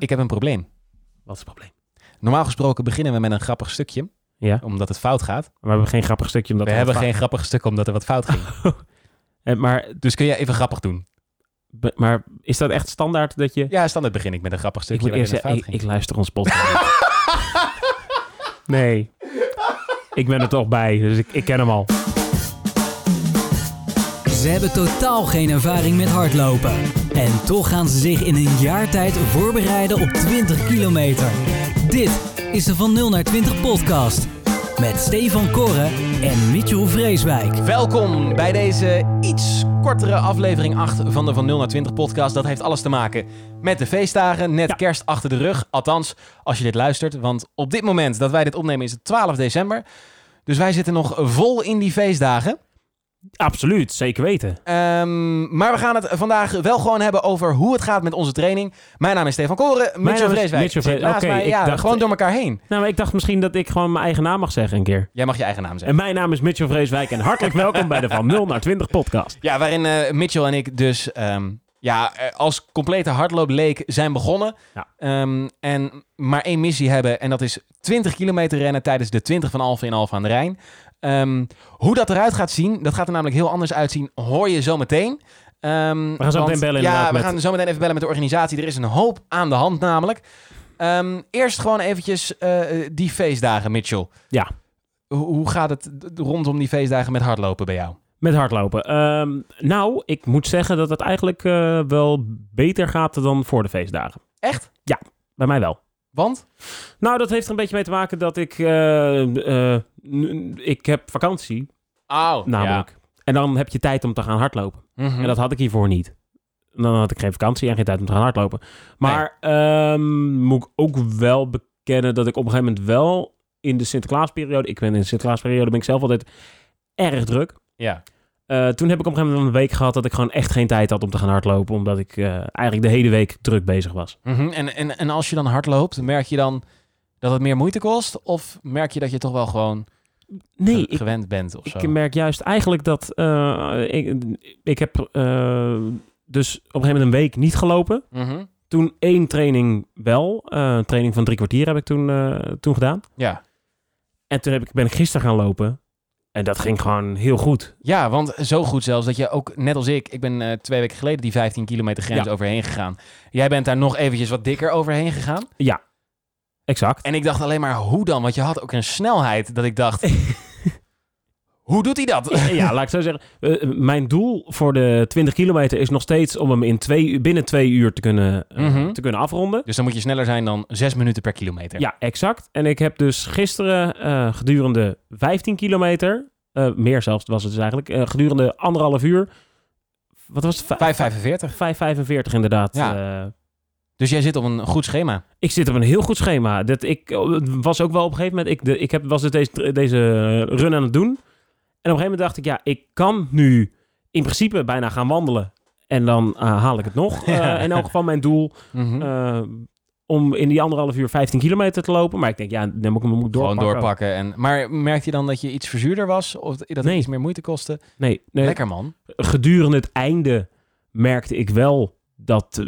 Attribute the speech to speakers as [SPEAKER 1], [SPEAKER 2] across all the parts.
[SPEAKER 1] Ik heb een probleem.
[SPEAKER 2] Wat is het probleem?
[SPEAKER 1] Normaal gesproken beginnen we met een grappig stukje,
[SPEAKER 2] Ja,
[SPEAKER 1] omdat het fout gaat.
[SPEAKER 2] maar we hebben geen grappig stukje. Omdat
[SPEAKER 1] we hebben geen grappig stuk, omdat er wat fout ging.
[SPEAKER 2] geen... Maar,
[SPEAKER 1] dus kun jij even grappig doen?
[SPEAKER 2] be- maar is dat echt standaard dat je...
[SPEAKER 1] Ja, standaard begin ik met een grappig
[SPEAKER 2] ik
[SPEAKER 1] stukje
[SPEAKER 2] moet eerst
[SPEAKER 1] waarin het fout
[SPEAKER 2] zeggen, ik, ik
[SPEAKER 1] ging.
[SPEAKER 2] luister ons podcast niet. nee. Ik ben er toch bij, dus ik, ik ken hem al.
[SPEAKER 3] Ze hebben totaal geen ervaring met hardlopen. En toch gaan ze zich in een jaar tijd voorbereiden op 20 kilometer. Dit is de Van 0 naar 20 podcast. Met Stefan Koren en Mitchell Vreeswijk.
[SPEAKER 1] Welkom bij deze iets kortere aflevering 8 van de Van 0 naar 20 podcast. Dat heeft alles te maken met de feestdagen, net
[SPEAKER 2] Ja.
[SPEAKER 1] kerst achter de rug. Althans, als je dit luistert, want op dit moment dat wij dit opnemen is het 12 december. Dus wij zitten nog vol in die feestdagen.
[SPEAKER 2] Absoluut, zeker weten.
[SPEAKER 1] Ehm, maar we gaan het vandaag wel gewoon hebben over hoe het gaat met onze training. Mijn naam is Stefan Koren, Mitchell
[SPEAKER 2] naam is
[SPEAKER 1] Vreeswijk
[SPEAKER 2] Mitchell
[SPEAKER 1] zit
[SPEAKER 2] Vrees-
[SPEAKER 1] naast
[SPEAKER 2] Oké,
[SPEAKER 1] mij.
[SPEAKER 2] ik
[SPEAKER 1] Ja,
[SPEAKER 2] dacht-
[SPEAKER 1] gewoon door elkaar heen.
[SPEAKER 2] Nou, maar ik dacht misschien dat ik gewoon mijn eigen naam mag zeggen een keer.
[SPEAKER 1] Jij mag je eigen naam zeggen.
[SPEAKER 2] En mijn naam is Mitchell Vreeswijk en hartelijk welkom bij de Van 0 naar 20 podcast.
[SPEAKER 1] Ja, waarin eh, Mitchell en ik dus ehm, ja, eh, als complete hardloopleek zijn begonnen.
[SPEAKER 2] Ja.
[SPEAKER 1] Ehm, en maar één missie hebben en dat is 20 kilometer rennen tijdens de 20 van Alphen in Alphen aan de Rijn. Ehm, hoe dat eruit gaat zien, dat gaat er namelijk heel anders uitzien, hoor je zo meteen. Ehm,
[SPEAKER 2] We gaan zo
[SPEAKER 1] want-
[SPEAKER 2] meteen bellen
[SPEAKER 1] Ja,
[SPEAKER 2] inderdaad
[SPEAKER 1] we
[SPEAKER 2] met-
[SPEAKER 1] gaan zo meteen even bellen met de organisatie. Er is een hoop aan de hand namelijk. Ehm, eerst gewoon eventjes eh, die feestdagen, Mitchell.
[SPEAKER 2] Ja.
[SPEAKER 1] Hoe- Hoe gaat het d- rondom die feestdagen met hardlopen bij jou?
[SPEAKER 2] Met hardlopen. Ehm, nou, ik moet zeggen dat het eigenlijk eh, wel beter gaat dan voor de feestdagen.
[SPEAKER 1] Echt?
[SPEAKER 2] Bij mij wel.
[SPEAKER 1] Want?
[SPEAKER 2] Nou, dat heeft er een beetje mee te maken dat ik... eh, eh, n- ik heb vakantie,
[SPEAKER 1] Oh,
[SPEAKER 2] namelijk. En dan heb je tijd om te gaan hardlopen.
[SPEAKER 1] Mhm.
[SPEAKER 2] En dat had ik hiervoor niet. En Dan had ik geen vakantie en geen tijd om te gaan hardlopen. Maar ehm, moet ik ook wel bekennen dat ik op een gegeven moment wel in de Sinterklaasperiode... Ik ben in de Sinterklaasperiode ben ik zelf altijd erg druk.
[SPEAKER 1] Ja.
[SPEAKER 2] Eh, toen heb ik op een gegeven moment een week gehad dat ik gewoon echt geen tijd had om te gaan hardlopen. Omdat ik eh, eigenlijk de hele week druk bezig was.
[SPEAKER 1] Mhm. en, en, en als je dan hard loopt, merk je dan dat het meer moeite kost? Of merk je dat je toch wel gewoon
[SPEAKER 2] Nee,
[SPEAKER 1] ge-
[SPEAKER 2] ik,
[SPEAKER 1] gewend bent of zo?
[SPEAKER 2] ik merk juist eigenlijk dat eh, ik, ik heb eh, dus op een gegeven moment een week niet gelopen.
[SPEAKER 1] Mhm.
[SPEAKER 2] Toen één training wel. Eh, een training van drie kwartier heb ik toen, eh, toen gedaan.
[SPEAKER 1] Ja.
[SPEAKER 2] En toen heb ik, ben ik gisteren gaan lopen. En dat ging gewoon heel goed.
[SPEAKER 1] ja, want zo goed zelfs dat je ook, net als ik, ik ben eh, twee weken geleden die 15 kilometer grens
[SPEAKER 2] Ja.
[SPEAKER 1] overheen gegaan. Jij bent daar nog eventjes wat dikker overheen gegaan.
[SPEAKER 2] Exact.
[SPEAKER 1] En ik dacht alleen maar, hoe dan? Want je had ook een snelheid dat ik dacht, hoe doet hij dat?
[SPEAKER 2] ja, laat ik zo zeggen. Eh, mijn doel voor de 20 kilometer is nog steeds om hem in twee, uur- binnen twee uur te kunnen, eh,
[SPEAKER 1] Mhm.
[SPEAKER 2] te kunnen afronden.
[SPEAKER 1] Dus dan moet je sneller zijn dan zes minuten per kilometer.
[SPEAKER 2] Ja, exact. En ik heb dus gisteren eh, gedurende 15 kilometer, eh, meer zelfs was het dus eigenlijk, eh, gedurende anderhalf uur, wat was het? Vijf-
[SPEAKER 1] 5,45.
[SPEAKER 2] 5,45 inderdaad.
[SPEAKER 1] Ja.
[SPEAKER 2] eh,
[SPEAKER 1] Dus jij zit op een goed schema.
[SPEAKER 2] ik zit op een heel goed schema. Dat ik eh, was ook wel op een gegeven moment. Ik, de, ik heb, was het deze, deze run aan het doen. En op een gegeven moment dacht ik, ja, ik kan nu in principe bijna gaan wandelen. En dan eh, haal ik het nog.
[SPEAKER 1] Ja.
[SPEAKER 2] Eh, in elk geval mijn doel
[SPEAKER 1] Mhm.
[SPEAKER 2] eh, om in die anderhalf uur 15 kilometer te lopen. Maar ik denk, ja, dan moet ik hem moet ik
[SPEAKER 1] Gewoon
[SPEAKER 2] doorpakken.
[SPEAKER 1] doorpakken. En, maar merkte je dan dat je iets verzuurder was? Of dat het
[SPEAKER 2] Nee. Eh,
[SPEAKER 1] iets meer moeite kostte?
[SPEAKER 2] Nee, nee,
[SPEAKER 1] Lekker man.
[SPEAKER 2] gedurende het einde merkte ik wel dat... eh,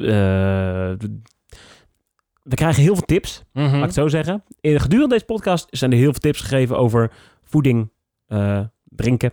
[SPEAKER 2] we krijgen heel veel tips.
[SPEAKER 1] Mhm.
[SPEAKER 2] Laat ik het zo zeggen. In, gedurende deze podcast zijn er heel veel tips gegeven over voeding, eh, drinken,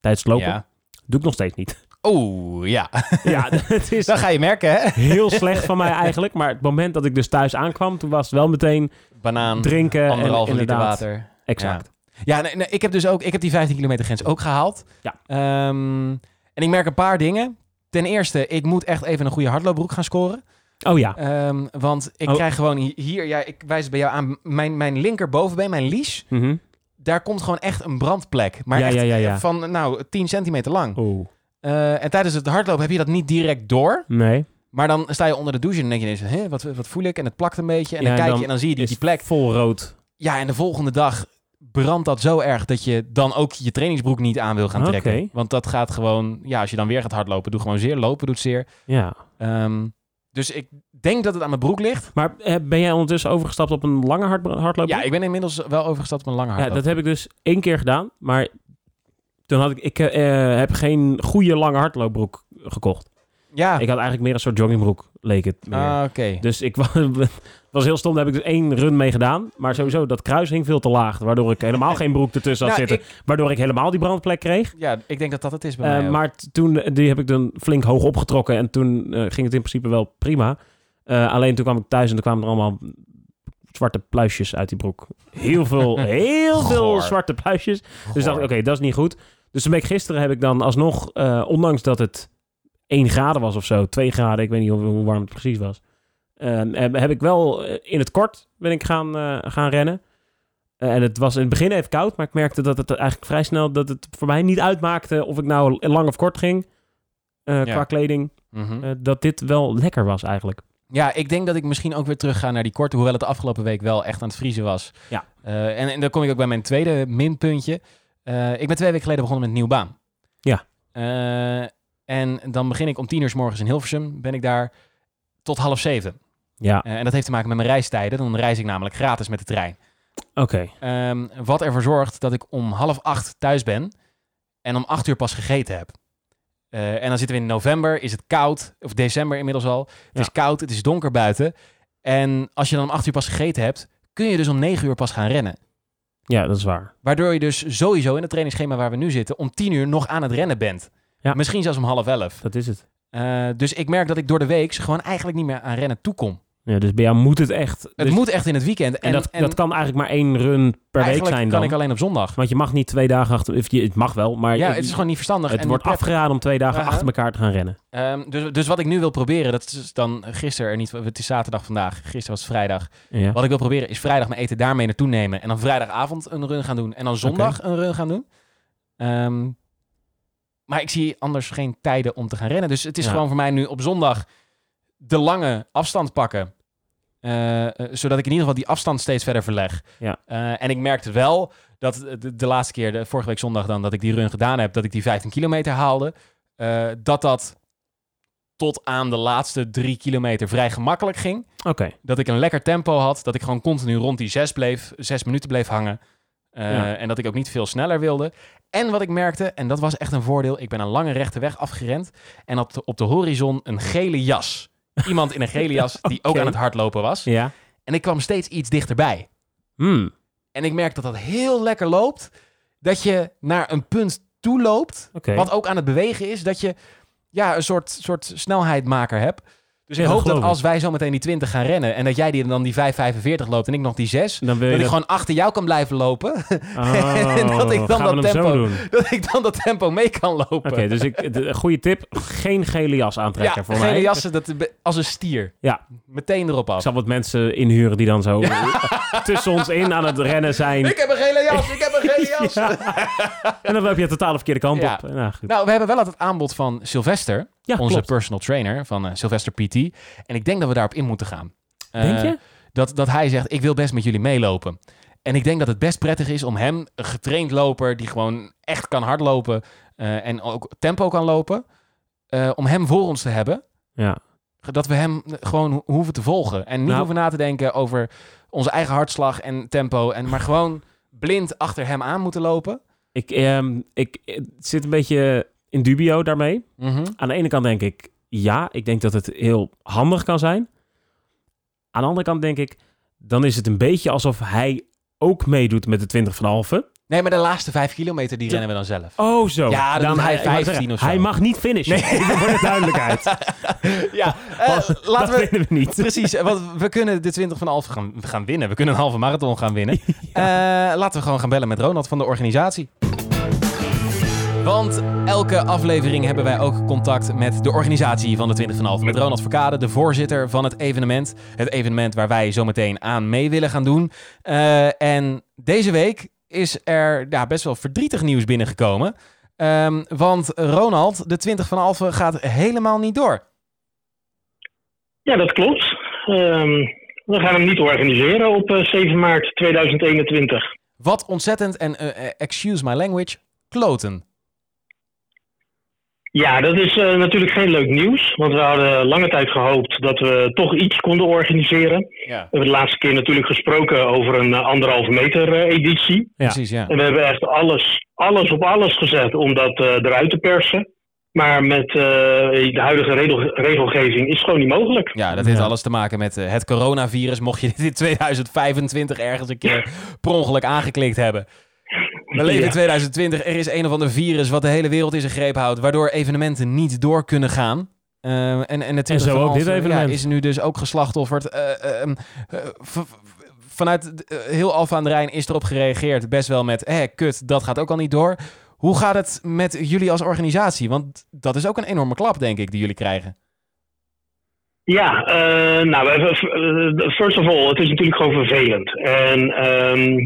[SPEAKER 2] tijdens het lopen.
[SPEAKER 1] Ja.
[SPEAKER 2] Doe ik nog steeds niet.
[SPEAKER 1] Oeh, ja.
[SPEAKER 2] ja, het is
[SPEAKER 1] Dan ga je merken, hè?
[SPEAKER 2] heel slecht van mij eigenlijk. Maar het moment dat ik dus thuis aankwam, toen was het wel meteen
[SPEAKER 1] Banaan,
[SPEAKER 2] drinken en
[SPEAKER 1] anderhalve liter
[SPEAKER 2] eh, inderdaad-
[SPEAKER 1] water.
[SPEAKER 2] Exact.
[SPEAKER 1] Ja, nee, nee, ik heb dus ook... Ik heb die 15 kilometer grens ook gehaald.
[SPEAKER 2] Ja.
[SPEAKER 1] Ehm, en ik merk een paar dingen. Ten eerste, ik moet echt even een goede hardloopbroek gaan scoren.
[SPEAKER 2] Oh ja.
[SPEAKER 1] Ehm, want ik
[SPEAKER 2] Oh.
[SPEAKER 1] krijg gewoon hi- hier... Ja, ik wijs het bij jou aan. Mijn, mijn linkerbovenbeen, mijn lies...
[SPEAKER 2] Mhm.
[SPEAKER 1] Daar komt gewoon echt een brandplek. Maar
[SPEAKER 2] Ja,
[SPEAKER 1] echt
[SPEAKER 2] ja, ja, ja.
[SPEAKER 1] van, nou, 10 centimeter lang.
[SPEAKER 2] Oeh.
[SPEAKER 1] Eh, en tijdens het hardlopen heb je dat niet direct door.
[SPEAKER 2] Nee.
[SPEAKER 1] Maar dan sta je onder de douche en dan denk je ineens... Hè, wat, wat voel ik? En het plakt een beetje. En
[SPEAKER 2] Ja,
[SPEAKER 1] dan
[SPEAKER 2] en
[SPEAKER 1] kijk
[SPEAKER 2] dan
[SPEAKER 1] je en dan zie je die,
[SPEAKER 2] Is
[SPEAKER 1] die plek.
[SPEAKER 2] vol rood.
[SPEAKER 1] Ja, en de volgende dag brandt dat zo erg... dat je dan ook je trainingsbroek niet aan wil gaan trekken.
[SPEAKER 2] Oké.
[SPEAKER 1] Want dat gaat gewoon... Ja, als je dan weer gaat hardlopen, doe gewoon zeer. Lopen doet zeer.
[SPEAKER 2] Ja.
[SPEAKER 1] Ehm, dus ik denk dat het aan mijn broek ligt.
[SPEAKER 2] Maar eh, ben jij ondertussen overgestapt op een lange hard, hardlopen?
[SPEAKER 1] Ja, ik ben inmiddels wel overgestapt op een lange
[SPEAKER 2] Ja,
[SPEAKER 1] hardloop.
[SPEAKER 2] dat heb ik dus één keer gedaan. Maar toen had ik... Ik eh, eh, heb geen goede lange hardloopbroek gekocht.
[SPEAKER 1] Ja,
[SPEAKER 2] Ik had eigenlijk meer een soort joggingbroek, leek het meer.
[SPEAKER 1] Ah, oké.
[SPEAKER 2] Dus ik wa- was heel stom. Daar heb ik dus één run mee gedaan. Maar sowieso, dat kruis ging veel te laag. Waardoor ik helemaal geen broek ertussen had
[SPEAKER 1] Nou,
[SPEAKER 2] zitten. Waardoor ik helemaal die brandplek kreeg.
[SPEAKER 1] Ja, ik denk dat dat het is bij
[SPEAKER 2] Eh,
[SPEAKER 1] mij ook.
[SPEAKER 2] maar t- toen, eh, die heb ik dan flink hoog opgetrokken. En toen eh, ging het in principe wel prima. Eh, alleen toen kwam ik thuis en er kwamen er allemaal zwarte pluisjes uit die broek. Heel veel, heel veel
[SPEAKER 1] Goor.
[SPEAKER 2] zwarte pluisjes. Dus dacht ik,
[SPEAKER 1] Goor.
[SPEAKER 2] oké, dat is niet goed. Dus toen ben ik gisteren heb ik dan alsnog, eh, ondanks dat het 1 graden was of zo, 2 graden, ik weet niet hoe, hoe warm het precies was. eh, heb, heb ik wel eh, in het kort ben ik gaan, eh, gaan rennen. Eh, en het was in het begin even koud, maar ik merkte dat het eigenlijk vrij snel dat het voor mij niet uitmaakte of ik nou lang of kort ging. eh,
[SPEAKER 1] Ja.
[SPEAKER 2] Qua kleding,
[SPEAKER 1] Mhm.
[SPEAKER 2] eh, dat dit wel lekker was eigenlijk.
[SPEAKER 1] Ja, ik denk dat ik misschien ook weer terug ga naar die korte, hoewel het de afgelopen week wel echt aan het vriezen was.
[SPEAKER 2] Ja.
[SPEAKER 1] Eh, en, en dan kom ik ook bij mijn tweede minpuntje. Eh, ik ben twee weken geleden begonnen met een nieuwe baan.
[SPEAKER 2] Ja.
[SPEAKER 1] Eh, en dan begin ik om tien uur s morgens in Hilversum, ben ik daar tot half zeven.
[SPEAKER 2] Ja,
[SPEAKER 1] Eh, en dat heeft te maken met mijn reistijden, dan reis ik namelijk gratis met de trein.
[SPEAKER 2] oké.
[SPEAKER 1] Ehm, wat ervoor zorgt dat ik om half acht thuis ben en om acht uur pas gegeten heb. Eh, en dan zitten we in november, is het koud, of december inmiddels al. Het
[SPEAKER 2] Ja.
[SPEAKER 1] is koud, het is donker buiten. En als je dan om acht uur pas gegeten hebt, kun je dus om negen uur pas gaan rennen.
[SPEAKER 2] Ja, dat is waar.
[SPEAKER 1] Waardoor je dus sowieso in het trainingsschema waar we nu zitten, om tien uur nog aan het rennen bent.
[SPEAKER 2] Ja.
[SPEAKER 1] Misschien zelfs om half elf.
[SPEAKER 2] Dat is het.
[SPEAKER 1] Eh, dus ik merk dat ik door de week gewoon eigenlijk niet meer aan rennen toekom.
[SPEAKER 2] Ja, dus bij jou moet het echt.
[SPEAKER 1] Het
[SPEAKER 2] dus-
[SPEAKER 1] moet echt in het weekend. En,
[SPEAKER 2] en, dat, dat kan eigenlijk maar één run per week
[SPEAKER 1] eigenlijk
[SPEAKER 2] zijn
[SPEAKER 1] kan
[SPEAKER 2] dan.
[SPEAKER 1] ik alleen op zondag.
[SPEAKER 2] Want je mag niet twee dagen achter... Of je, het mag wel, maar
[SPEAKER 1] Ja,
[SPEAKER 2] je-
[SPEAKER 1] het is gewoon niet verstandig.
[SPEAKER 2] het
[SPEAKER 1] en
[SPEAKER 2] wordt
[SPEAKER 1] niet prettig.
[SPEAKER 2] afgeraden om twee dagen
[SPEAKER 1] Aha.
[SPEAKER 2] achter elkaar te gaan rennen.
[SPEAKER 1] Ehm, dus, dus wat ik nu wil proberen, dat is dus dan gisteren er niet. Het is zaterdag vandaag. Gisteren was het vrijdag.
[SPEAKER 2] Ja.
[SPEAKER 1] Wat ik wil proberen is vrijdag mijn eten daarmee naartoe nemen. En dan vrijdagavond een run gaan doen. En dan zondag een run gaan doen. Ehm, maar ik zie anders geen tijden om te gaan rennen. Dus het is
[SPEAKER 2] Ja.
[SPEAKER 1] gewoon voor mij nu op zondag de lange afstand pakken. Eh, eh, zodat ik in ieder geval die afstand steeds verder verleg.
[SPEAKER 2] Ja.
[SPEAKER 1] Eh, en ik merkte wel dat de, de laatste keer, de, vorige week zondag dan, dat ik die run gedaan heb, dat ik die 15 kilometer haalde. eh, dat dat tot aan de laatste drie kilometer vrij gemakkelijk ging
[SPEAKER 2] Oké,
[SPEAKER 1] dat ik een lekker tempo had. Dat ik gewoon continu rond die zes, bleef, zes minuten bleef hangen. Uh,
[SPEAKER 2] Ja.
[SPEAKER 1] En dat ik ook niet veel sneller wilde. En wat ik merkte, en dat was echt een voordeel, ik ben een lange rechte weg afgerend. En op de, op de horizon een gele jas. Iemand in een gele jas die ook
[SPEAKER 2] Oké.
[SPEAKER 1] aan het hardlopen was.
[SPEAKER 2] ja.
[SPEAKER 1] En ik kwam steeds iets dichterbij.
[SPEAKER 2] Hmm,
[SPEAKER 1] En ik merk dat dat heel lekker loopt. Dat je naar een punt toe loopt.
[SPEAKER 2] oké.
[SPEAKER 1] Wat ook aan het bewegen is, dat je ja, een soort, soort snelheidmaker hebt. Dus
[SPEAKER 2] Ja,
[SPEAKER 1] ik
[SPEAKER 2] dat
[SPEAKER 1] hoop dat,
[SPEAKER 2] geloof ik.
[SPEAKER 1] als wij zometeen die 20 gaan rennen... en dat jij die dan die 5,45 loopt en ik nog die 6...
[SPEAKER 2] Dan wil
[SPEAKER 1] dat
[SPEAKER 2] je
[SPEAKER 1] ik
[SPEAKER 2] dat...
[SPEAKER 1] gewoon achter jou kan blijven lopen...
[SPEAKER 2] Oh,
[SPEAKER 1] en dat ik dan
[SPEAKER 2] gaan we
[SPEAKER 1] dat
[SPEAKER 2] hem zo
[SPEAKER 1] tempo-
[SPEAKER 2] doen.
[SPEAKER 1] dat ik dan dat tempo mee kan lopen.
[SPEAKER 2] Oké, dus ik, de, goede tip. Geen gele jas
[SPEAKER 1] ja,
[SPEAKER 2] aantrekken voor
[SPEAKER 1] gele
[SPEAKER 2] mij.
[SPEAKER 1] jassen dat, als een stier.
[SPEAKER 2] Ja.
[SPEAKER 1] Meteen erop
[SPEAKER 2] Ik
[SPEAKER 1] af.
[SPEAKER 2] zal wat mensen inhuren die dan zo tussen ons in aan het rennen zijn.
[SPEAKER 1] Ik heb een gele jas, ik heb een gele jas.
[SPEAKER 2] Ja. En dan loop je totaal de verkeerde kant
[SPEAKER 1] Ja.
[SPEAKER 2] op. Nou, goed.
[SPEAKER 1] Nou, we hebben wel het aanbod van Sylvester,
[SPEAKER 2] ja,
[SPEAKER 1] onze
[SPEAKER 2] klopt.
[SPEAKER 1] personal trainer van eh, Sylvester PT. En ik denk dat we daarop in moeten gaan.
[SPEAKER 2] Denk
[SPEAKER 1] Eh,
[SPEAKER 2] je?
[SPEAKER 1] dat, dat hij zegt, ik wil best met jullie meelopen. En ik denk dat het best prettig is om hem, een getraind loper... die gewoon echt kan hardlopen eh, en ook tempo kan lopen... eh, om hem voor ons te hebben.
[SPEAKER 2] Ja.
[SPEAKER 1] Dat we hem gewoon ho- hoeven te volgen. En niet
[SPEAKER 2] Nou.
[SPEAKER 1] hoeven na te denken over onze eigen hartslag en tempo. En, maar gewoon blind achter hem aan moeten lopen.
[SPEAKER 2] Ik, ehm, ik eh, zit een beetje in dubio daarmee.
[SPEAKER 1] Mhm.
[SPEAKER 2] Aan de ene kant denk ik, ja, ik denk dat het heel handig kan zijn. Aan de andere kant denk ik, dan is het een beetje alsof hij ook meedoet met de 20 van Alphen.
[SPEAKER 1] Nee, maar de laatste vijf kilometer die
[SPEAKER 2] Ja.
[SPEAKER 1] rennen we dan zelf.
[SPEAKER 2] Oh, zo.
[SPEAKER 1] Ja, dan doet hij
[SPEAKER 2] ik wou
[SPEAKER 1] 15
[SPEAKER 2] zeggen,
[SPEAKER 1] of zo.
[SPEAKER 2] Hij mag niet finishen. Nee. Voor de duidelijkheid.
[SPEAKER 1] Ja, eh,
[SPEAKER 2] dat
[SPEAKER 1] laten we...
[SPEAKER 2] vinden we niet.
[SPEAKER 1] Precies, eh, want we kunnen de 20 van Alphen gaan, gaan winnen. We kunnen een halve marathon gaan winnen. Eh, laten we gewoon gaan bellen met Ronald van de organisatie. Want elke aflevering hebben wij ook contact met de organisatie van de 20 van Alphen. Met Ronald Verkade, de voorzitter van het evenement. Het evenement waar wij zometeen aan mee willen gaan doen. Eh, en deze week is er ja, best wel verdrietig nieuws binnengekomen. Ehm, want Ronald, de 20 van Alphen gaat helemaal niet door.
[SPEAKER 4] Ja, dat klopt. Ehm, we gaan hem niet organiseren op eh, 7 maart 2021.
[SPEAKER 1] Wat ontzettend en, eh, eh, excuse my language, kloten.
[SPEAKER 4] Ja, dat is eh, natuurlijk geen leuk nieuws, want we hadden lange tijd gehoopt dat we toch iets konden organiseren.
[SPEAKER 1] Ja.
[SPEAKER 4] We hebben de laatste keer natuurlijk gesproken over een eh, anderhalve meter eh, editie.
[SPEAKER 2] Ja.
[SPEAKER 1] Precies, ja.
[SPEAKER 4] En we hebben echt alles, alles op alles gezet om dat eh, eruit te persen. Maar met eh, de huidige regel- regelgeving is het gewoon niet mogelijk.
[SPEAKER 1] Ja, dat heeft
[SPEAKER 2] Ja.
[SPEAKER 1] alles te maken met eh, het coronavirus. Mocht je dit in 2025 ergens een keer per ongeluk aangeklikt hebben. We leven in
[SPEAKER 4] Ja.
[SPEAKER 1] 2020. Er is een of ander virus wat de hele wereld in zijn greep houdt. Waardoor evenementen niet door kunnen gaan. Eh, en, en, het
[SPEAKER 2] En zo ook dit
[SPEAKER 1] Ja,
[SPEAKER 2] evenement.
[SPEAKER 1] is nu dus ook geslachtofferd. Eh, ehm, eh, v- v- vanuit de- eh, heel Alfa aan de Rijn is erop gereageerd. Best wel met, hé, kut, dat gaat ook al niet door. Hoe gaat het met jullie als organisatie? Want dat is ook een enorme klap, denk ik, die jullie krijgen.
[SPEAKER 4] Ja, eh, nou, we- eh, first of all, het is natuurlijk gewoon vervelend. En ehm,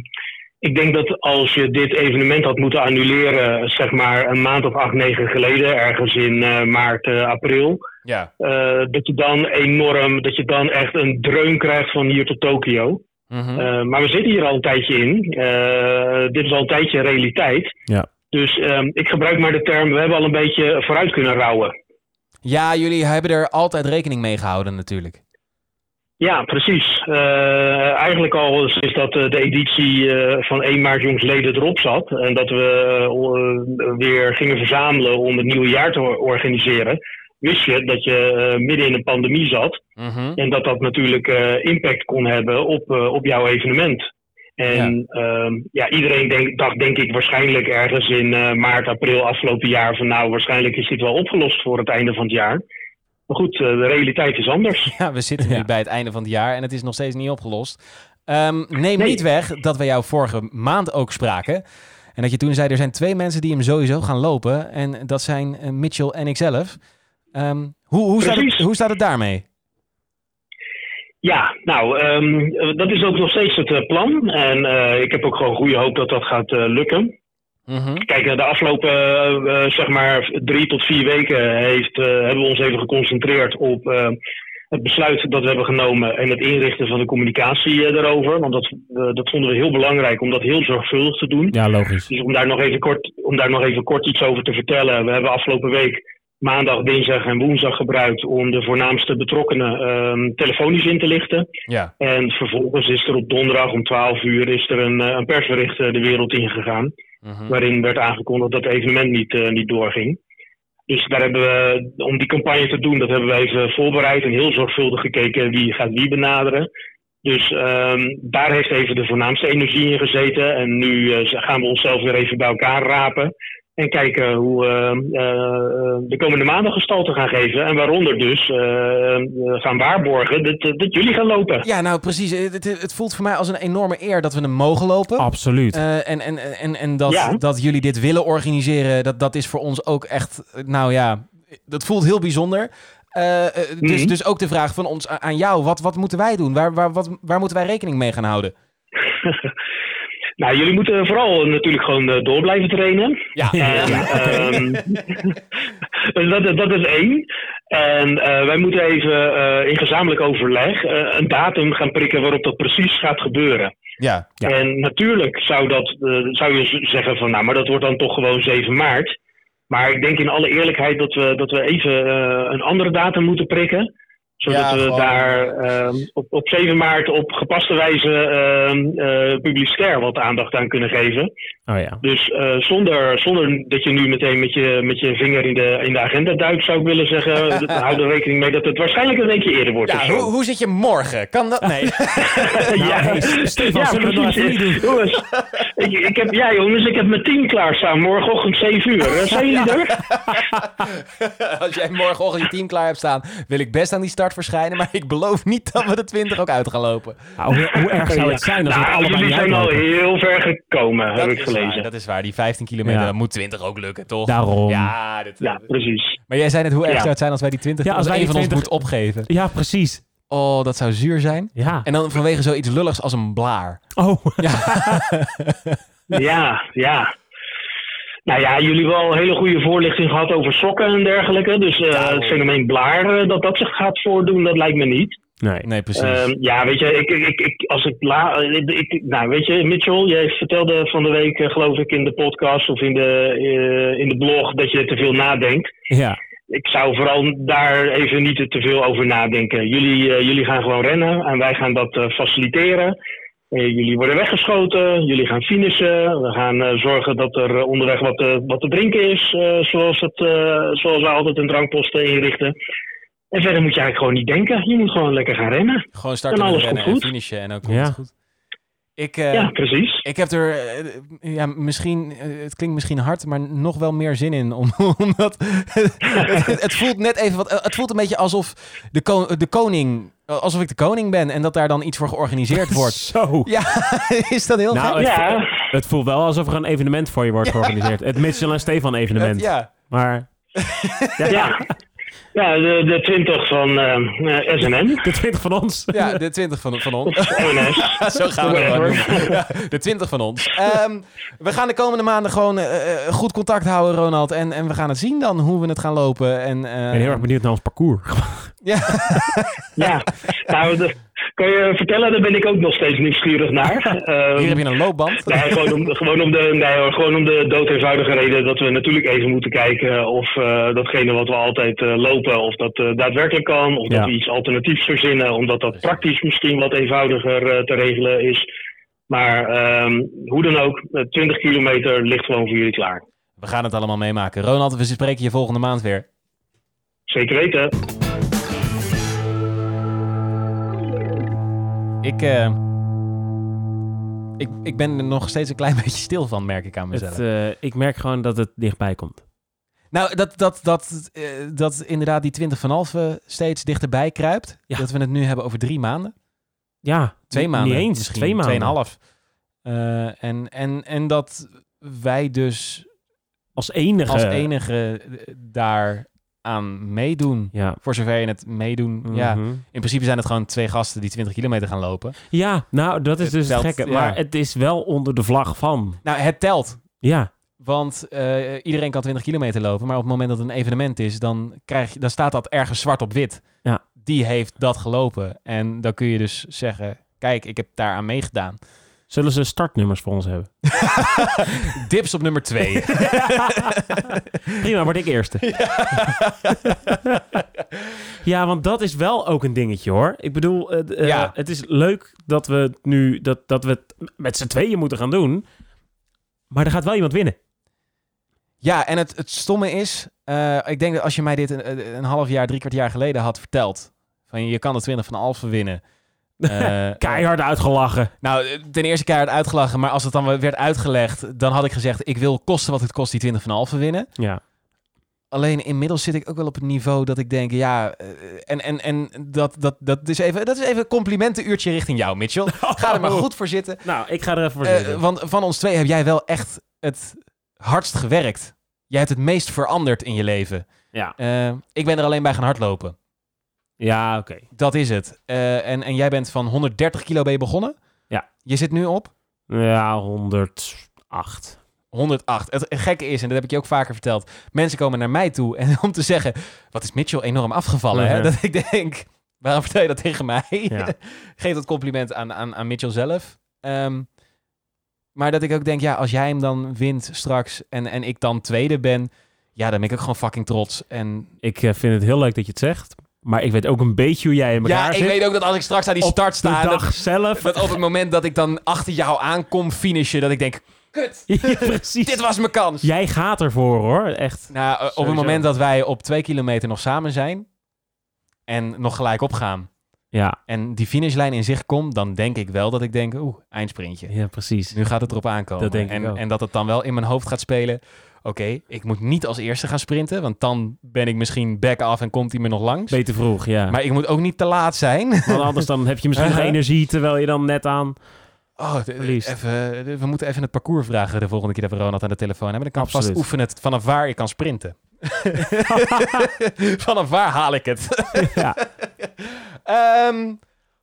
[SPEAKER 4] ik denk dat als je dit evenement had moeten annuleren, zeg maar een maand of acht, negen geleden, ergens in eh, maart, eh, april,
[SPEAKER 1] Ja.
[SPEAKER 4] eh, dat je dan enorm, dat je dan echt een dreun krijgt van hier tot Tokio.
[SPEAKER 1] Mhm.
[SPEAKER 4] Eh, maar we zitten hier al een tijdje in. Eh, dit is al een tijdje realiteit.
[SPEAKER 2] Ja.
[SPEAKER 4] Dus ehm, ik gebruik maar de term, we hebben al een beetje vooruit kunnen rouwen.
[SPEAKER 1] Ja, jullie hebben er altijd rekening mee gehouden natuurlijk.
[SPEAKER 4] Ja, precies. Eh, eigenlijk al is dat eh, de editie eh, van 1 maart jongsleden erop zat. En dat we eh, weer gingen verzamelen om het nieuwe jaar te or- organiseren. Wist je dat je eh, midden in een pandemie zat.
[SPEAKER 1] Mhm.
[SPEAKER 4] En dat dat natuurlijk eh, impact kon hebben op, eh, op jouw evenement. En ja, ja iedereen denk, dacht denk ik waarschijnlijk ergens in eh, maart, april afgelopen jaar van nou waarschijnlijk is dit wel opgelost voor het einde van het jaar. Maar goed, eh, de realiteit is anders.
[SPEAKER 1] Ja, we zitten nu
[SPEAKER 2] Ja.
[SPEAKER 1] bij het einde van het jaar en het is nog steeds niet opgelost. Ehm, neem
[SPEAKER 4] Nee.
[SPEAKER 1] niet weg dat we jou vorige maand ook spraken. En dat je toen zei, er zijn twee mensen die hem sowieso gaan lopen. En dat zijn eh, Mitchell en ikzelf. Ehm, hoe, hoe, staat het,
[SPEAKER 4] Precies.
[SPEAKER 1] hoe staat het daarmee?
[SPEAKER 4] Ja, nou, ehm, dat is ook nog steeds het eh, plan. En eh, ik heb ook gewoon goede hoop dat dat gaat eh, lukken. Kijk, eh, de afgelopen eh, eh, zeg maar drie tot vier weken heeft, eh, hebben we ons even geconcentreerd op eh, het besluit dat we hebben genomen en het inrichten van de communicatie eh, daarover. Want dat, eh, dat vonden we heel belangrijk om dat heel zorgvuldig te doen.
[SPEAKER 2] Ja, logisch.
[SPEAKER 4] Dus om daar, nog even kort, om daar nog even kort iets over te vertellen. We hebben afgelopen week maandag, dinsdag en woensdag gebruikt om de voornaamste betrokkenen ehm, telefonisch in te lichten.
[SPEAKER 1] Ja.
[SPEAKER 4] En vervolgens is er op donderdag om 12 uur is er een, eh, een persbericht eh, de wereld ingegaan.
[SPEAKER 1] Hm.
[SPEAKER 4] Waarin werd aangekondigd dat het evenement niet, eh, niet doorging. Dus daar hebben we, om die campagne te doen, dat hebben we even voorbereid en heel zorgvuldig gekeken wie gaat wie benaderen. Dus ehm, daar heeft even de voornaamste energie in gezeten. En nu eh, gaan we onszelf weer even bij elkaar rapen. En kijken hoe ehm, eh, de komende maanden gestalte gaan geven. En waaronder dus eh, we gaan waarborgen dat, dat- dat jullie gaan lopen.
[SPEAKER 1] ja, nou precies. Het, het- het voelt voor mij als een enorme eer dat we hem mogen lopen.
[SPEAKER 2] Absoluut.
[SPEAKER 1] Eh, en en, en, en dat,
[SPEAKER 4] Ja.
[SPEAKER 1] dat jullie dit willen organiseren, dat, dat is voor ons ook echt, nou ja, dat voelt heel bijzonder. Eh, eh, dus,
[SPEAKER 4] Mhm.
[SPEAKER 1] dus ook de vraag van ons a- aan jou, wat, wat moeten wij doen? Waar, waar, wat, waar moeten wij rekening mee gaan houden?
[SPEAKER 4] Nou, jullie moeten vooral natuurlijk gewoon eh, door blijven trainen.
[SPEAKER 1] Ja,
[SPEAKER 4] En, ehm, dus dat, dat is één. En eh, wij moeten even eh, in gezamenlijk overleg eh, een datum gaan prikken waarop dat precies gaat gebeuren.
[SPEAKER 1] ja,
[SPEAKER 2] Ja.
[SPEAKER 4] En natuurlijk zou, dat, eh, zou je z- zeggen van nou, maar dat wordt dan toch gewoon 7 maart. Maar ik denk in alle eerlijkheid dat we, dat we even eh, een andere datum moeten prikken. Zodat
[SPEAKER 1] Ja,
[SPEAKER 4] we
[SPEAKER 1] gewoon-
[SPEAKER 4] daar ehm, op, op 7 maart op gepaste wijze ehm, eh, publicitair wat aandacht aan kunnen geven.
[SPEAKER 2] Oh ja.
[SPEAKER 4] Dus eh, zonder, zonder dat je nu meteen met je, met je vinger in de, in de agenda duikt, zou ik willen zeggen, hou er rekening mee dat het waarschijnlijk een weekje eerder wordt. of
[SPEAKER 1] ja
[SPEAKER 4] zo.
[SPEAKER 1] hoe, hoe zit je morgen? Kan dat? Nee.
[SPEAKER 4] ja,
[SPEAKER 2] Nou, hey, Stefan, zullen we het nog even niet
[SPEAKER 4] Jongens, ik, ik heb, ja jongens, ik heb mijn team klaarstaan morgenochtend 7 uur. Eh, Zijn jullie er?
[SPEAKER 1] Als jij morgenochtend je team klaar hebt staan, wil ik best aan die start verschijnen. Maar ik beloof niet dat we de 20 ook uit gaan lopen.
[SPEAKER 2] Nou, hoe, hoe erg zou het zijn als we het
[SPEAKER 4] Nou,
[SPEAKER 2] allemaal
[SPEAKER 4] jullie
[SPEAKER 2] niet
[SPEAKER 4] zijn al
[SPEAKER 2] uitlopen?
[SPEAKER 4] heel ver gekomen, heb ik
[SPEAKER 1] is waar,
[SPEAKER 4] gelezen.
[SPEAKER 1] dat is waar. Die 15 kilometer,
[SPEAKER 2] Ja.
[SPEAKER 1] dat moet 20 ook lukken, toch?
[SPEAKER 2] Daarom.
[SPEAKER 1] Ja, dit,
[SPEAKER 4] Ja, precies.
[SPEAKER 1] Maar jij zei net hoe erg
[SPEAKER 4] Ja.
[SPEAKER 1] zou het zijn als wij die 20
[SPEAKER 2] Ja, als
[SPEAKER 1] als
[SPEAKER 2] wij
[SPEAKER 1] één
[SPEAKER 2] die
[SPEAKER 1] van ons
[SPEAKER 2] 20
[SPEAKER 1] moet opgeven.
[SPEAKER 2] Ja, precies.
[SPEAKER 1] Oh, dat zou zuur zijn.
[SPEAKER 2] Ja.
[SPEAKER 1] En dan vanwege zoiets lulligs als een blaar.
[SPEAKER 2] Oh,
[SPEAKER 4] Ja, ja. Nou ja, jullie hebben al hele goede voorlichting gehad over sokken en dergelijke. Dus eh, het fenomeen blaar, eh, dat dat zich gaat voordoen, dat lijkt me niet.
[SPEAKER 2] nee.
[SPEAKER 1] Nee, precies.
[SPEAKER 4] Ehm, ja, weet je, ik, ik, ik- ik, als ik, la, eh, ik, ik- nou, weet je, Mitchell, jij vertelde van de week, eh, geloof ik, in de podcast of in de, eh, in de blog dat je te veel nadenkt.
[SPEAKER 2] Ja.
[SPEAKER 4] Ik zou vooral daar even niet te veel over nadenken. Jullie, eh, jullie gaan gewoon rennen en wij gaan dat eh, faciliteren. Eh, Eh, jullie worden weggeschoten, jullie gaan finishen, we gaan eh, zorgen dat er eh, onderweg wat, eh, wat te drinken is, eh, zoals, het, eh, zoals we altijd een drankposten inrichten. En verder moet je eigenlijk gewoon niet denken, je moet gewoon lekker gaan rennen.
[SPEAKER 1] Gewoon starten
[SPEAKER 4] En
[SPEAKER 1] met
[SPEAKER 4] alles
[SPEAKER 1] rennen
[SPEAKER 4] komt
[SPEAKER 1] en
[SPEAKER 4] goed.
[SPEAKER 1] finishen en dan komt
[SPEAKER 2] Ja.
[SPEAKER 1] het goed. Ik, eh,
[SPEAKER 4] ja, precies.
[SPEAKER 1] ik heb er, eh, ja, misschien, eh, het klinkt misschien hard, maar nog wel meer zin in. Om, omdat het, het- het voelt net even wat, eh, het voelt een beetje alsof de, ko- de koning, eh, alsof ik de koning ben en dat daar dan iets voor georganiseerd wordt.
[SPEAKER 2] Zo.
[SPEAKER 1] Ja, is dat heel
[SPEAKER 2] Nou,
[SPEAKER 1] gek?
[SPEAKER 2] het,
[SPEAKER 4] Ja.
[SPEAKER 2] voelt- het voelt wel alsof er een evenement voor je wordt georganiseerd. Het Mitchell en Stefan evenement.
[SPEAKER 1] Ja,
[SPEAKER 2] Maar
[SPEAKER 4] Ja, ja de, de 20 van eh eh, SNM.
[SPEAKER 2] de 20 van ons.
[SPEAKER 1] ja, de 20 van, van ons.
[SPEAKER 4] ONS.
[SPEAKER 1] Zo gaan we het gewoon
[SPEAKER 4] Whatever.
[SPEAKER 1] noemen. Ja, de 20 van ons. Ehm, we gaan de komende maanden gewoon eh, eh, goed contact houden, Ronald. En, en we gaan het zien dan hoe we het gaan lopen. En, eh,
[SPEAKER 2] Ik ben heel erg benieuwd naar ons parcours.
[SPEAKER 1] ja,
[SPEAKER 4] Ja, nou, dat kan je vertellen, daar ben ik ook nog steeds nieuwsgierig naar. Ehm,
[SPEAKER 1] hier heb je een loopband.
[SPEAKER 4] Nee, gewoon om, gewoon, om de, nee, hoor, gewoon om de dood eenvoudige reden dat we natuurlijk even moeten kijken of eh, datgene wat we altijd eh, lopen, of dat eh, daadwerkelijk kan. Of
[SPEAKER 2] Ja.
[SPEAKER 4] dat we iets alternatiefs verzinnen, omdat dat praktisch misschien wat eenvoudiger eh, te regelen is. Maar ehm, hoe dan ook, eh, 20 kilometer ligt gewoon voor jullie klaar.
[SPEAKER 1] We gaan het allemaal meemaken. Ronald, we spreken je volgende maand weer.
[SPEAKER 4] Zeker weten.
[SPEAKER 1] Ik, eh, ik, ik ben er nog steeds een klein beetje stil van, merk ik aan mezelf.
[SPEAKER 2] Het, eh, ik merk gewoon dat het dichtbij komt.
[SPEAKER 1] Nou, dat, dat, dat, eh, dat inderdaad die 20 van halve steeds dichterbij kruipt.
[SPEAKER 2] Ja.
[SPEAKER 1] Dat we het nu hebben over drie maanden.
[SPEAKER 2] Ja,
[SPEAKER 1] Twee maanden.
[SPEAKER 2] Niet eens,
[SPEAKER 1] misschien.
[SPEAKER 2] twee maanden.
[SPEAKER 1] Tweeënhalf. Eh, en, en, en dat wij dus
[SPEAKER 2] Als enige.
[SPEAKER 1] als enige eh, daar aan meedoen.
[SPEAKER 2] Ja.
[SPEAKER 1] Voor zover je het meedoen. Ja.
[SPEAKER 2] Mhm.
[SPEAKER 1] In principe zijn het gewoon twee gasten die 20 kilometer gaan lopen.
[SPEAKER 2] ja, nou, dat is
[SPEAKER 1] Het
[SPEAKER 2] dus het
[SPEAKER 1] telt,
[SPEAKER 2] gekke.
[SPEAKER 1] ja.
[SPEAKER 2] Maar het is wel onder de vlag van.
[SPEAKER 1] Nou, het telt.
[SPEAKER 2] Ja,
[SPEAKER 1] Want eh, iedereen kan 20 kilometer lopen. Maar op het moment dat het een evenement is, dan, krijg je, dan staat dat ergens zwart op wit.
[SPEAKER 2] Ja.
[SPEAKER 1] Die heeft dat gelopen. En dan kun je dus zeggen. Kijk, ik heb daaraan meegedaan.
[SPEAKER 2] zullen ze startnummers voor ons hebben?
[SPEAKER 1] Dips op nummer 2.
[SPEAKER 2] Prima, word ik eerste. Ja. want dat is wel ook een dingetje hoor. Ik bedoel, het, eh,
[SPEAKER 1] Ja.
[SPEAKER 2] het is leuk dat we het nu dat, dat we het met z'n tweeën moeten gaan doen. Maar er gaat wel iemand winnen.
[SPEAKER 1] Ja, en het, het stomme is, eh, ik denk dat als je mij dit een, een half jaar, drie kwart jaar geleden had verteld, van je kan de 20 van Alphen winnen. Eh,
[SPEAKER 2] Keihard uitgelachen.
[SPEAKER 1] nou, ten eerste keihard uitgelachen, maar als het dan werd uitgelegd, dan had ik gezegd, ik wil kosten wat het kost die 20 van Alphen winnen.
[SPEAKER 2] Ja.
[SPEAKER 1] Alleen inmiddels zit ik ook wel op het niveau dat ik denk, ja, eh, en, en, en dat, dat, dat, is even, dat is even een complimentenuurtje richting jou, Mitchell. Ga er maar goed voor zitten.
[SPEAKER 2] Nou, ik ga er even voor
[SPEAKER 1] Eh,
[SPEAKER 2] zitten.
[SPEAKER 1] want van ons twee heb jij wel echt het hardst gewerkt. Jij hebt het meest veranderd in je leven.
[SPEAKER 2] ja,
[SPEAKER 1] Eh, ik ben er alleen bij gaan hardlopen.
[SPEAKER 2] ja oké.
[SPEAKER 1] Dat is het. Eh, en, en jij bent van 130 kilo ben je begonnen.
[SPEAKER 2] Ja.
[SPEAKER 1] Je zit nu op
[SPEAKER 2] Ja, 108.
[SPEAKER 1] 108. Het gekke is, en dat heb ik je ook vaker verteld. Mensen komen naar mij toe en om te zeggen... Wat is Mitchell enorm afgevallen, hè?
[SPEAKER 2] Mhm.
[SPEAKER 1] Dat ik denk, waarom vertel je dat tegen mij?
[SPEAKER 2] Ja.
[SPEAKER 1] Geef dat compliment aan, aan, aan Mitchell zelf. Ehm, maar dat ik ook denk, ja, als jij hem dan wint straks... en, en ik dan tweede ben... Ja, dan ben ik ook gewoon fucking trots. En
[SPEAKER 2] Ik eh, vind het heel leuk dat je het zegt. Maar ik weet ook een beetje hoe jij in elkaar
[SPEAKER 1] ja, ik
[SPEAKER 2] zit.
[SPEAKER 1] weet ook dat als ik straks aan die
[SPEAKER 2] Op
[SPEAKER 1] start
[SPEAKER 2] de
[SPEAKER 1] sta... en dat-
[SPEAKER 2] dag zelf.
[SPEAKER 1] Dat op het moment dat ik dan achter jou aankom finishen, dat ik denk, kut,
[SPEAKER 2] Ja, precies.
[SPEAKER 1] dit was mijn kans.
[SPEAKER 2] Jij gaat ervoor hoor, echt.
[SPEAKER 1] Nou, eh, op het
[SPEAKER 2] Sowieso.
[SPEAKER 1] moment dat wij op twee kilometer nog samen zijn en nog gelijk opgaan
[SPEAKER 2] Ja,
[SPEAKER 1] en die finishlijn in zicht komt, dan denk ik wel dat ik denk, oeh, eindsprintje.
[SPEAKER 2] ja precies.
[SPEAKER 1] Nu gaat het erop aankomen.
[SPEAKER 2] Dat denk ik
[SPEAKER 1] en,
[SPEAKER 2] ook.
[SPEAKER 1] en dat het dan wel in mijn hoofd gaat spelen. Oké, ik moet niet als eerste gaan sprinten, want dan ben ik misschien back af en komt hij me nog langs.
[SPEAKER 2] Beter vroeg, ja.
[SPEAKER 1] Maar ik moet ook niet te laat zijn.
[SPEAKER 2] Want anders dan heb je misschien nog
[SPEAKER 1] Uh-huh.
[SPEAKER 2] energie terwijl je dan net aan...
[SPEAKER 1] Oh, d-
[SPEAKER 2] Verlies.
[SPEAKER 1] even, d- we moeten even het parcours vragen de volgende keer dat we Ronald aan de telefoon hebben. Dan kan ik vast
[SPEAKER 2] Absoluut.
[SPEAKER 1] oefenen het vanaf waar je kan sprinten. vanaf waar haal ik het?
[SPEAKER 2] Ja.
[SPEAKER 1] Ehm,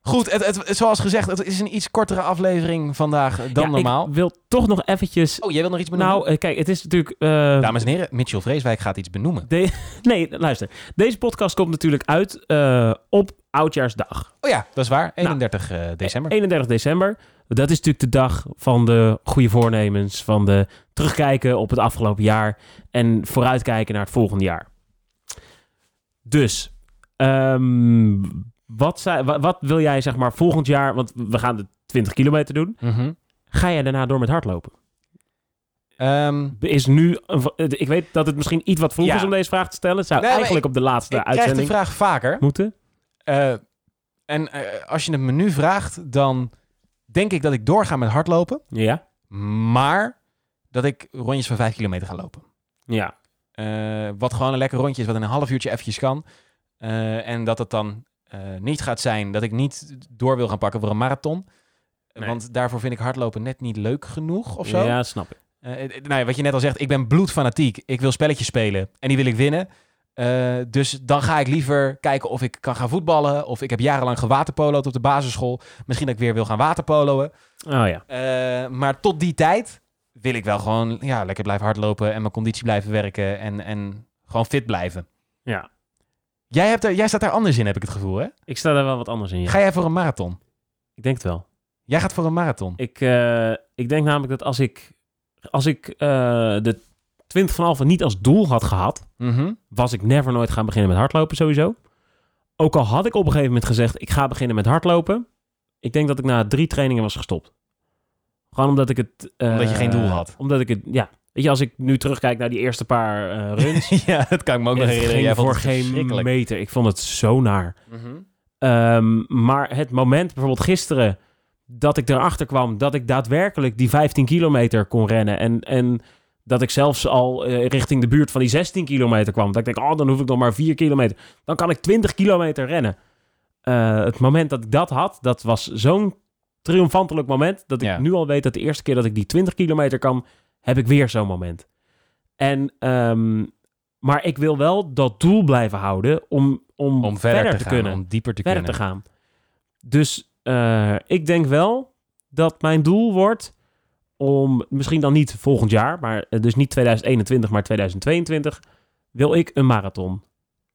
[SPEAKER 1] goed, het, het, zoals gezegd, het is een iets kortere aflevering vandaag dan
[SPEAKER 2] Ja,
[SPEAKER 1] normaal.
[SPEAKER 2] Ik wil toch nog eventjes...
[SPEAKER 1] Oh, jij wil nog iets benoemen?
[SPEAKER 2] nou, eh, kijk, het is natuurlijk... eh,
[SPEAKER 1] Dames en heren, Mitchell Vreeswijk gaat iets benoemen.
[SPEAKER 2] de- nee, luister. Deze podcast komt natuurlijk uit eh, op Oudjaarsdag.
[SPEAKER 1] Oh ja, dat is
[SPEAKER 2] Nou.
[SPEAKER 1] waar. 31 eh, december.
[SPEAKER 2] 31 december. Dat is natuurlijk de dag van de goede voornemens, van de terugkijken op het afgelopen jaar en vooruitkijken naar het volgende jaar. Dus, ehm, wat, zei- wa- wat wil jij zeg maar volgend jaar, want we gaan de 20 kilometer doen.
[SPEAKER 1] Mhm.
[SPEAKER 2] Ga jij daarna door met hardlopen?
[SPEAKER 1] Ehm,
[SPEAKER 2] Is nu, een va- ik weet dat het misschien iets wat vroeg
[SPEAKER 1] Ja.
[SPEAKER 2] is om deze vraag te stellen. Het zou
[SPEAKER 1] Nee, maar
[SPEAKER 2] eigenlijk op de laatste
[SPEAKER 1] ik krijg de
[SPEAKER 2] uitzending
[SPEAKER 1] vraag vaker.
[SPEAKER 2] moeten.
[SPEAKER 1] Eh, en eh, als je het me nu vraagt, dan denk ik dat ik doorga met hardlopen.
[SPEAKER 2] Ja.
[SPEAKER 1] Maar dat ik rondjes van 5 kilometer ga lopen.
[SPEAKER 2] Ja.
[SPEAKER 1] Eh, wat gewoon een lekker rondje is, wat in een half uurtje eventjes kan. Eh, en dat het dan eh, niet gaat zijn dat ik niet door wil gaan pakken voor een marathon.
[SPEAKER 2] Nee.
[SPEAKER 1] Want daarvoor vind ik hardlopen net niet leuk genoeg of zo.
[SPEAKER 2] Ja, snap ik.
[SPEAKER 1] Eh, eh, nou ja, wat je net al zegt, ik ben bloedfanatiek. Ik wil spelletjes spelen en die wil ik winnen. Eh, dus dan ga ik liever kijken of ik kan gaan voetballen. Of ik heb jarenlang gewaterpolo'd op de basisschool. Misschien dat ik weer wil gaan waterpoloën.
[SPEAKER 2] Oh ja.
[SPEAKER 1] Eh, maar tot die tijd wil ik wel gewoon ja, lekker blijven hardlopen en mijn conditie blijven werken en, en gewoon fit blijven.
[SPEAKER 2] Ja.
[SPEAKER 1] Jij, hebt er, jij staat daar anders in, heb ik het gevoel. Hè?
[SPEAKER 2] Ik sta daar wel wat anders in. Ja.
[SPEAKER 1] Ga jij voor een marathon?
[SPEAKER 2] Ik denk het wel.
[SPEAKER 1] Jij gaat voor een marathon.
[SPEAKER 2] Ik, eh, ik denk namelijk dat als ik, als ik eh, de 20 van Alphen niet als doel had gehad,
[SPEAKER 1] Mhm.
[SPEAKER 2] was ik never nooit gaan beginnen met hardlopen sowieso. Ook al had ik op een gegeven moment gezegd, ik ga beginnen met hardlopen. Ik denk dat ik na drie trainingen was gestopt. Gewoon omdat ik het... eh,
[SPEAKER 1] Omdat je geen doel had.
[SPEAKER 2] Omdat ik het, ja. Weet je, als ik nu terugkijk naar die eerste paar eh runs...
[SPEAKER 1] ja, dat kan ik me ook nog
[SPEAKER 2] het
[SPEAKER 1] herinneren. Jij
[SPEAKER 2] ging
[SPEAKER 1] vond
[SPEAKER 2] voor
[SPEAKER 1] het
[SPEAKER 2] geen
[SPEAKER 1] verschrikkelijk.
[SPEAKER 2] meter. Ik vond het zo naar.
[SPEAKER 1] Mhm.
[SPEAKER 2] Ehm, maar het moment, bijvoorbeeld gisteren, dat ik erachter kwam dat ik daadwerkelijk die 15 kilometer kon rennen. En, en dat ik zelfs al eh, richting de buurt van die 16 kilometer kwam. Dat ik denk, oh, dan hoef ik nog maar 4 kilometer. Dan kan ik 20 kilometer rennen. Eh, het moment dat ik dat had, dat was zo'n triomfantelijk moment. Dat ik
[SPEAKER 1] Ja.
[SPEAKER 2] nu al weet dat de eerste keer dat ik die 20 kilometer kan, heb ik weer zo'n moment. En, ehm, maar ik wil wel dat doel blijven houden om, om,
[SPEAKER 1] Om verder, te, gaan,
[SPEAKER 2] kunnen
[SPEAKER 1] Mhm. om dieper te
[SPEAKER 2] verder
[SPEAKER 1] kunnen.
[SPEAKER 2] te gaan. Dus eh, ik denk wel dat mijn doel wordt om, misschien dan niet volgend jaar, maar eh, dus niet 2021, maar 2022, wil ik een marathon.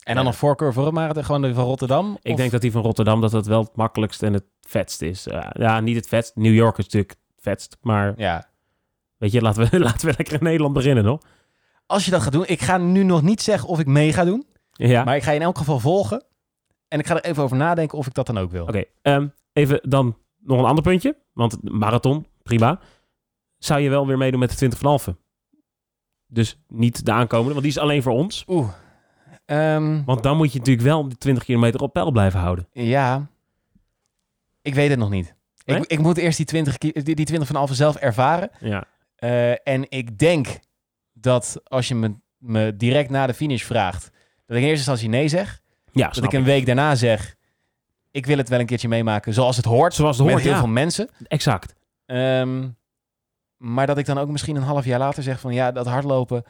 [SPEAKER 1] En dan
[SPEAKER 2] Ja.
[SPEAKER 1] een voorkeur voor een marathon, gewoon de van Rotterdam?
[SPEAKER 2] Ik
[SPEAKER 1] Of-
[SPEAKER 2] denk dat die van Rotterdam dat dat wel het makkelijkst en het vetst is. Eh, ja, niet het vetst. New York is natuurlijk het vetst, maar
[SPEAKER 1] Ja.
[SPEAKER 2] weet je, laten we, laten we lekker in Nederland beginnen, hoor.
[SPEAKER 1] Als je dat gaat doen, ik ga nu nog niet zeggen of ik mee ga doen,
[SPEAKER 2] Ja.
[SPEAKER 1] maar ik ga je in elk geval volgen. En ik ga er even over nadenken of ik dat dan ook wil.
[SPEAKER 2] Oké, ehm, even dan nog een ander puntje. Want marathon, prima. Zou je wel weer meedoen met de 20 van Alphen? Dus niet de aankomende, want die is alleen voor ons.
[SPEAKER 1] Oeh. Ehm,
[SPEAKER 2] Want dan moet je natuurlijk wel de 20 kilometer op peil blijven houden.
[SPEAKER 1] ja. Ik weet het nog niet.
[SPEAKER 2] Nee?
[SPEAKER 1] Ik, ik moet eerst die 20, ki- die, die 20 van Alphen zelf ervaren.
[SPEAKER 2] Ja.
[SPEAKER 1] Eh, en ik denk dat als je me, me direct na de finish vraagt, dat ik in eerste instantie nee zeg.
[SPEAKER 2] Ja,
[SPEAKER 1] Dat
[SPEAKER 2] Ah, snap
[SPEAKER 1] ik een
[SPEAKER 2] ik.
[SPEAKER 1] week daarna zeg, ik wil het wel een keertje meemaken zoals het hoort.
[SPEAKER 2] Zoals het
[SPEAKER 1] met
[SPEAKER 2] hoort,
[SPEAKER 1] heel
[SPEAKER 2] ja.
[SPEAKER 1] veel mensen.
[SPEAKER 2] Exact.
[SPEAKER 1] Ehm, maar dat ik dan ook misschien een half jaar later zeg van ja, dat hardlopen.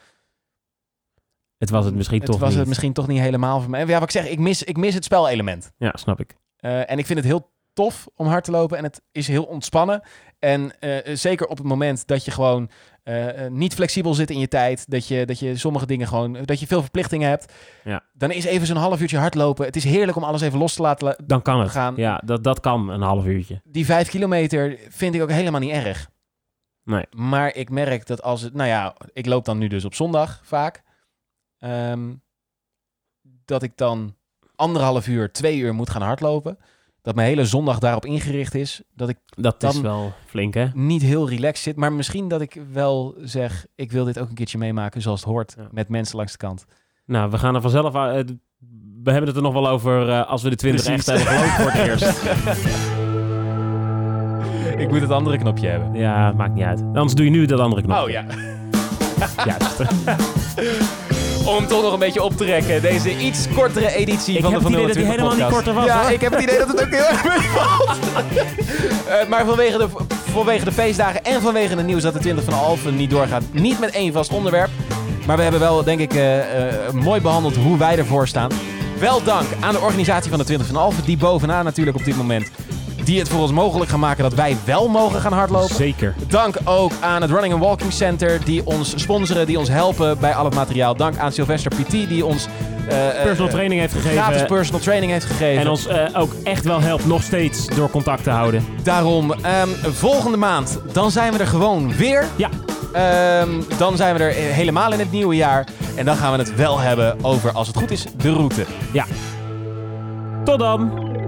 [SPEAKER 2] Het was het misschien
[SPEAKER 1] het
[SPEAKER 2] toch
[SPEAKER 1] was
[SPEAKER 2] niet.
[SPEAKER 1] het misschien toch niet helemaal voor mij. Ja, wat ik zeg, ik mis, ik mis het spelelement.
[SPEAKER 2] Ja, snap ik.
[SPEAKER 1] Eh, en ik vind het heel tof om hard te lopen. En het is heel ontspannen. En eh, zeker op het moment dat je gewoon eh, eh, niet flexibel zit in je tijd. Dat je, dat je sommige dingen gewoon. Dat je veel verplichtingen hebt.
[SPEAKER 2] Ja.
[SPEAKER 1] Dan is even zo'n half uurtje hardlopen. Het is heerlijk om alles even los te laten. la-
[SPEAKER 2] Dan kan het.
[SPEAKER 1] Gaan.
[SPEAKER 2] Ja, dat, dat kan een half uurtje.
[SPEAKER 1] Die vijf kilometer vind ik ook helemaal niet erg.
[SPEAKER 2] Nee.
[SPEAKER 1] Maar ik merk dat als het... Nou ja, ik loop dan nu dus op zondag vaak. ehm, dat ik dan anderhalf uur, twee uur moet gaan hardlopen. Dat mijn hele zondag daarop ingericht is. Dat ik
[SPEAKER 2] Dat is
[SPEAKER 1] Dan-
[SPEAKER 2] wel flink, hè?
[SPEAKER 1] niet heel relaxed zit. Maar misschien dat ik wel zeg... Ik wil dit ook een keertje meemaken zoals het hoort.
[SPEAKER 2] Ja.
[SPEAKER 1] Met mensen langs de kant.
[SPEAKER 2] Nou, we gaan er vanzelf... eh, we hebben het er nog wel over eh, als we de 20
[SPEAKER 1] Precies.
[SPEAKER 2] echt hebben gelopen voor het eerst.
[SPEAKER 1] Ik moet het andere knopje hebben.
[SPEAKER 2] Ja, maakt niet uit. Anders doe je nu dat andere knop.
[SPEAKER 1] Oh ja.
[SPEAKER 2] Juist.
[SPEAKER 1] Om toch nog een beetje op te rekken. Deze iets kortere editie
[SPEAKER 2] Ik
[SPEAKER 1] van
[SPEAKER 2] heb
[SPEAKER 1] de
[SPEAKER 2] het
[SPEAKER 1] Van
[SPEAKER 2] idee dat hij
[SPEAKER 1] 020
[SPEAKER 2] helemaal niet
[SPEAKER 1] podcast.
[SPEAKER 2] korter was,
[SPEAKER 1] Ja,
[SPEAKER 2] hoor.
[SPEAKER 1] ik heb het idee dat het ook heel erg meevalt. Eh, maar vanwege de, vanwege de feestdagen en vanwege het nieuws dat de 20 van Alphen niet doorgaat. Niet met één vast onderwerp. Maar we hebben wel, denk ik, eh, eh, mooi behandeld hoe wij ervoor staan. Wel dank aan de organisatie van de 20 van Alphen. Die bovenaan natuurlijk op dit moment. Die het voor ons mogelijk gaan maken dat wij wel mogen gaan hardlopen.
[SPEAKER 2] Zeker.
[SPEAKER 1] Dank ook aan het Running and Walking Center die ons sponsoren, die ons helpen bij al het materiaal. Dank aan Sylvester PT die ons eh, eh,
[SPEAKER 2] Personal training heeft gegeven.
[SPEAKER 1] gratis personal training heeft gegeven.
[SPEAKER 2] en ons eh, ook echt wel helpt nog steeds door contact te houden.
[SPEAKER 1] Daarom, ehm, volgende maand dan zijn we er gewoon weer.
[SPEAKER 2] Ja,
[SPEAKER 1] Ehm, dan zijn we er helemaal in het nieuwe jaar. En dan gaan we het wel hebben over, als het goed is, de route.
[SPEAKER 2] ja. Tot dan.